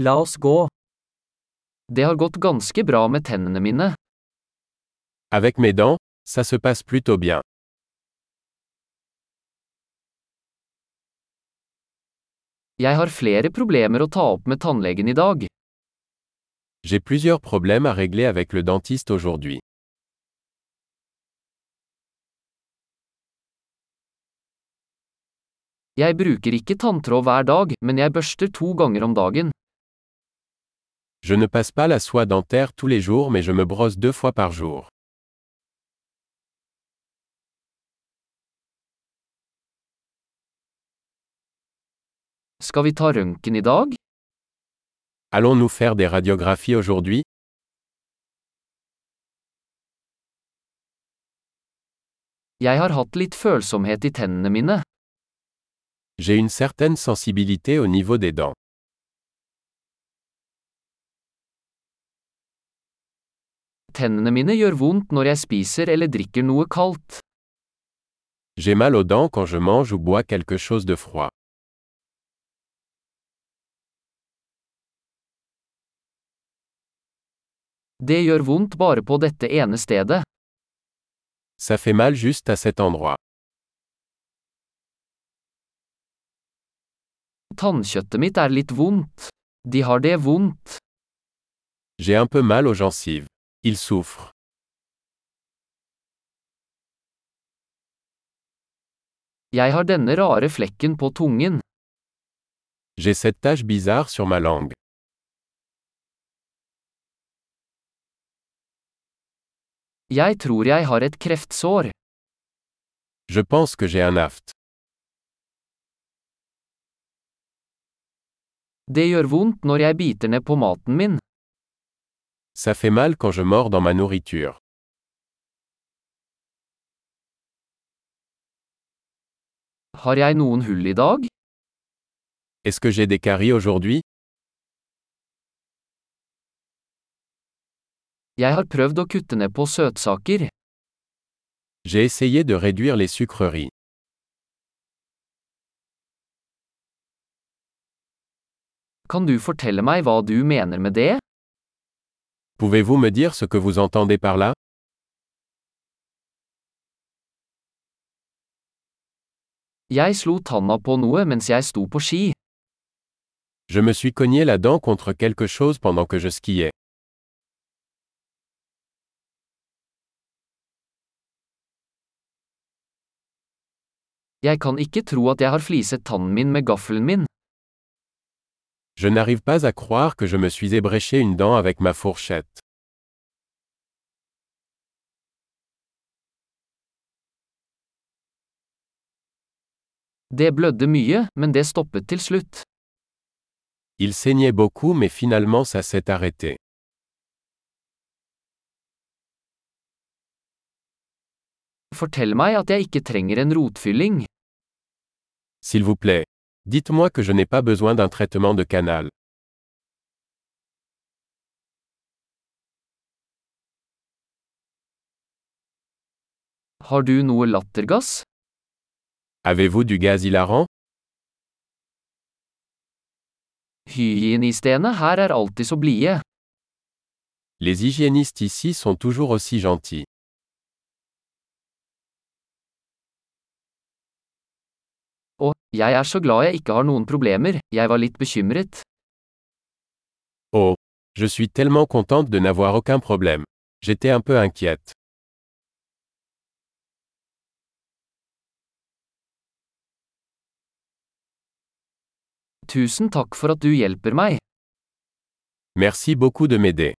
La oss gå. Det har gått ganske bra med tennene mine. Avec mes dents, ça se passe plutôt bien. Jeg har flere problemer å ta opp med tannlegen i dag. J'ai plusieurs problèmes à régler avec le dentiste aujourd'hui. Jeg bruker ikke tanntråd hver dag, men jeg børster to ganger om dagen. Je ne passe pas la soie dentaire tous les jours mais je me brosse deux fois par jour. Skal vi ta røntgen i dag? Allons-nous faire des radiographies aujourd'hui Jeg har hatt litt følsomhet i tennene mine. J'ai une certaine sensibilité au niveau des dents. Tennene mine gjør vondt når jeg spiser eller drikker noe kaldt. J'ai mal aux dents quand je mange ou bois quelque chose de froid. Det gjør vondt bare på dette ene stedet. Ça fait mal juste à cet endroit. Tannkjøttet mitt er litt vondt. De har det vondt. J'ai un peu mal aux gencives. Il souffre. Jeg har denne rare flekken på tungen. J'ai cette tache bizarre sur ma langue. Jeg tror jeg har et kreftsår. Je pense que j'ai un aft. Det gjør vondt når jeg biter ned på maten min. Ça fait mal quand je mords dans ma nourriture. Har jeg noen hull i dag? Est-ce que j'ai des caries aujourd'hui Jeg har prøvd å kutte ned på søtsaker. J'ai essayé de réduire les sucreries. Kan du fortelle meg hva du mener med det? Pouvez-vous me dire ce que vous entendez par là Jeg slo tanna på noe mens jeg sto på ski. Je me suis cogné la dent contre quelque chose pendant que je skiais. Jeg kan ikke tro at jeg har fliset tannen min med gaffelen min. Je n'arrive pas à croire que je me suis ébréché une dent avec ma fourchette. Det blødde mye, men det stoppet til slutt. Il saignait beaucoup mais finalement ça s'est arrêté. Fortell meg at jeg ikke trenger en rotfylling. S'il vous plaît. Dites-moi que je n'ai pas besoin d'un traitement de canal. Har du noe lattergass? Avez-vous du gaz hilarant Hygienistene her er alltid så blide. Les hygiénistes ici sont toujours aussi gentils. Og, jeg er så glad jeg ikke har noen problemer, jeg var litt bekymret. Oh, je suis tellement contente de n'avoir aucun problème. J'étais un peu inquiète. Tusen takk for at du hjelper meg. Merci beaucoup de m'aider.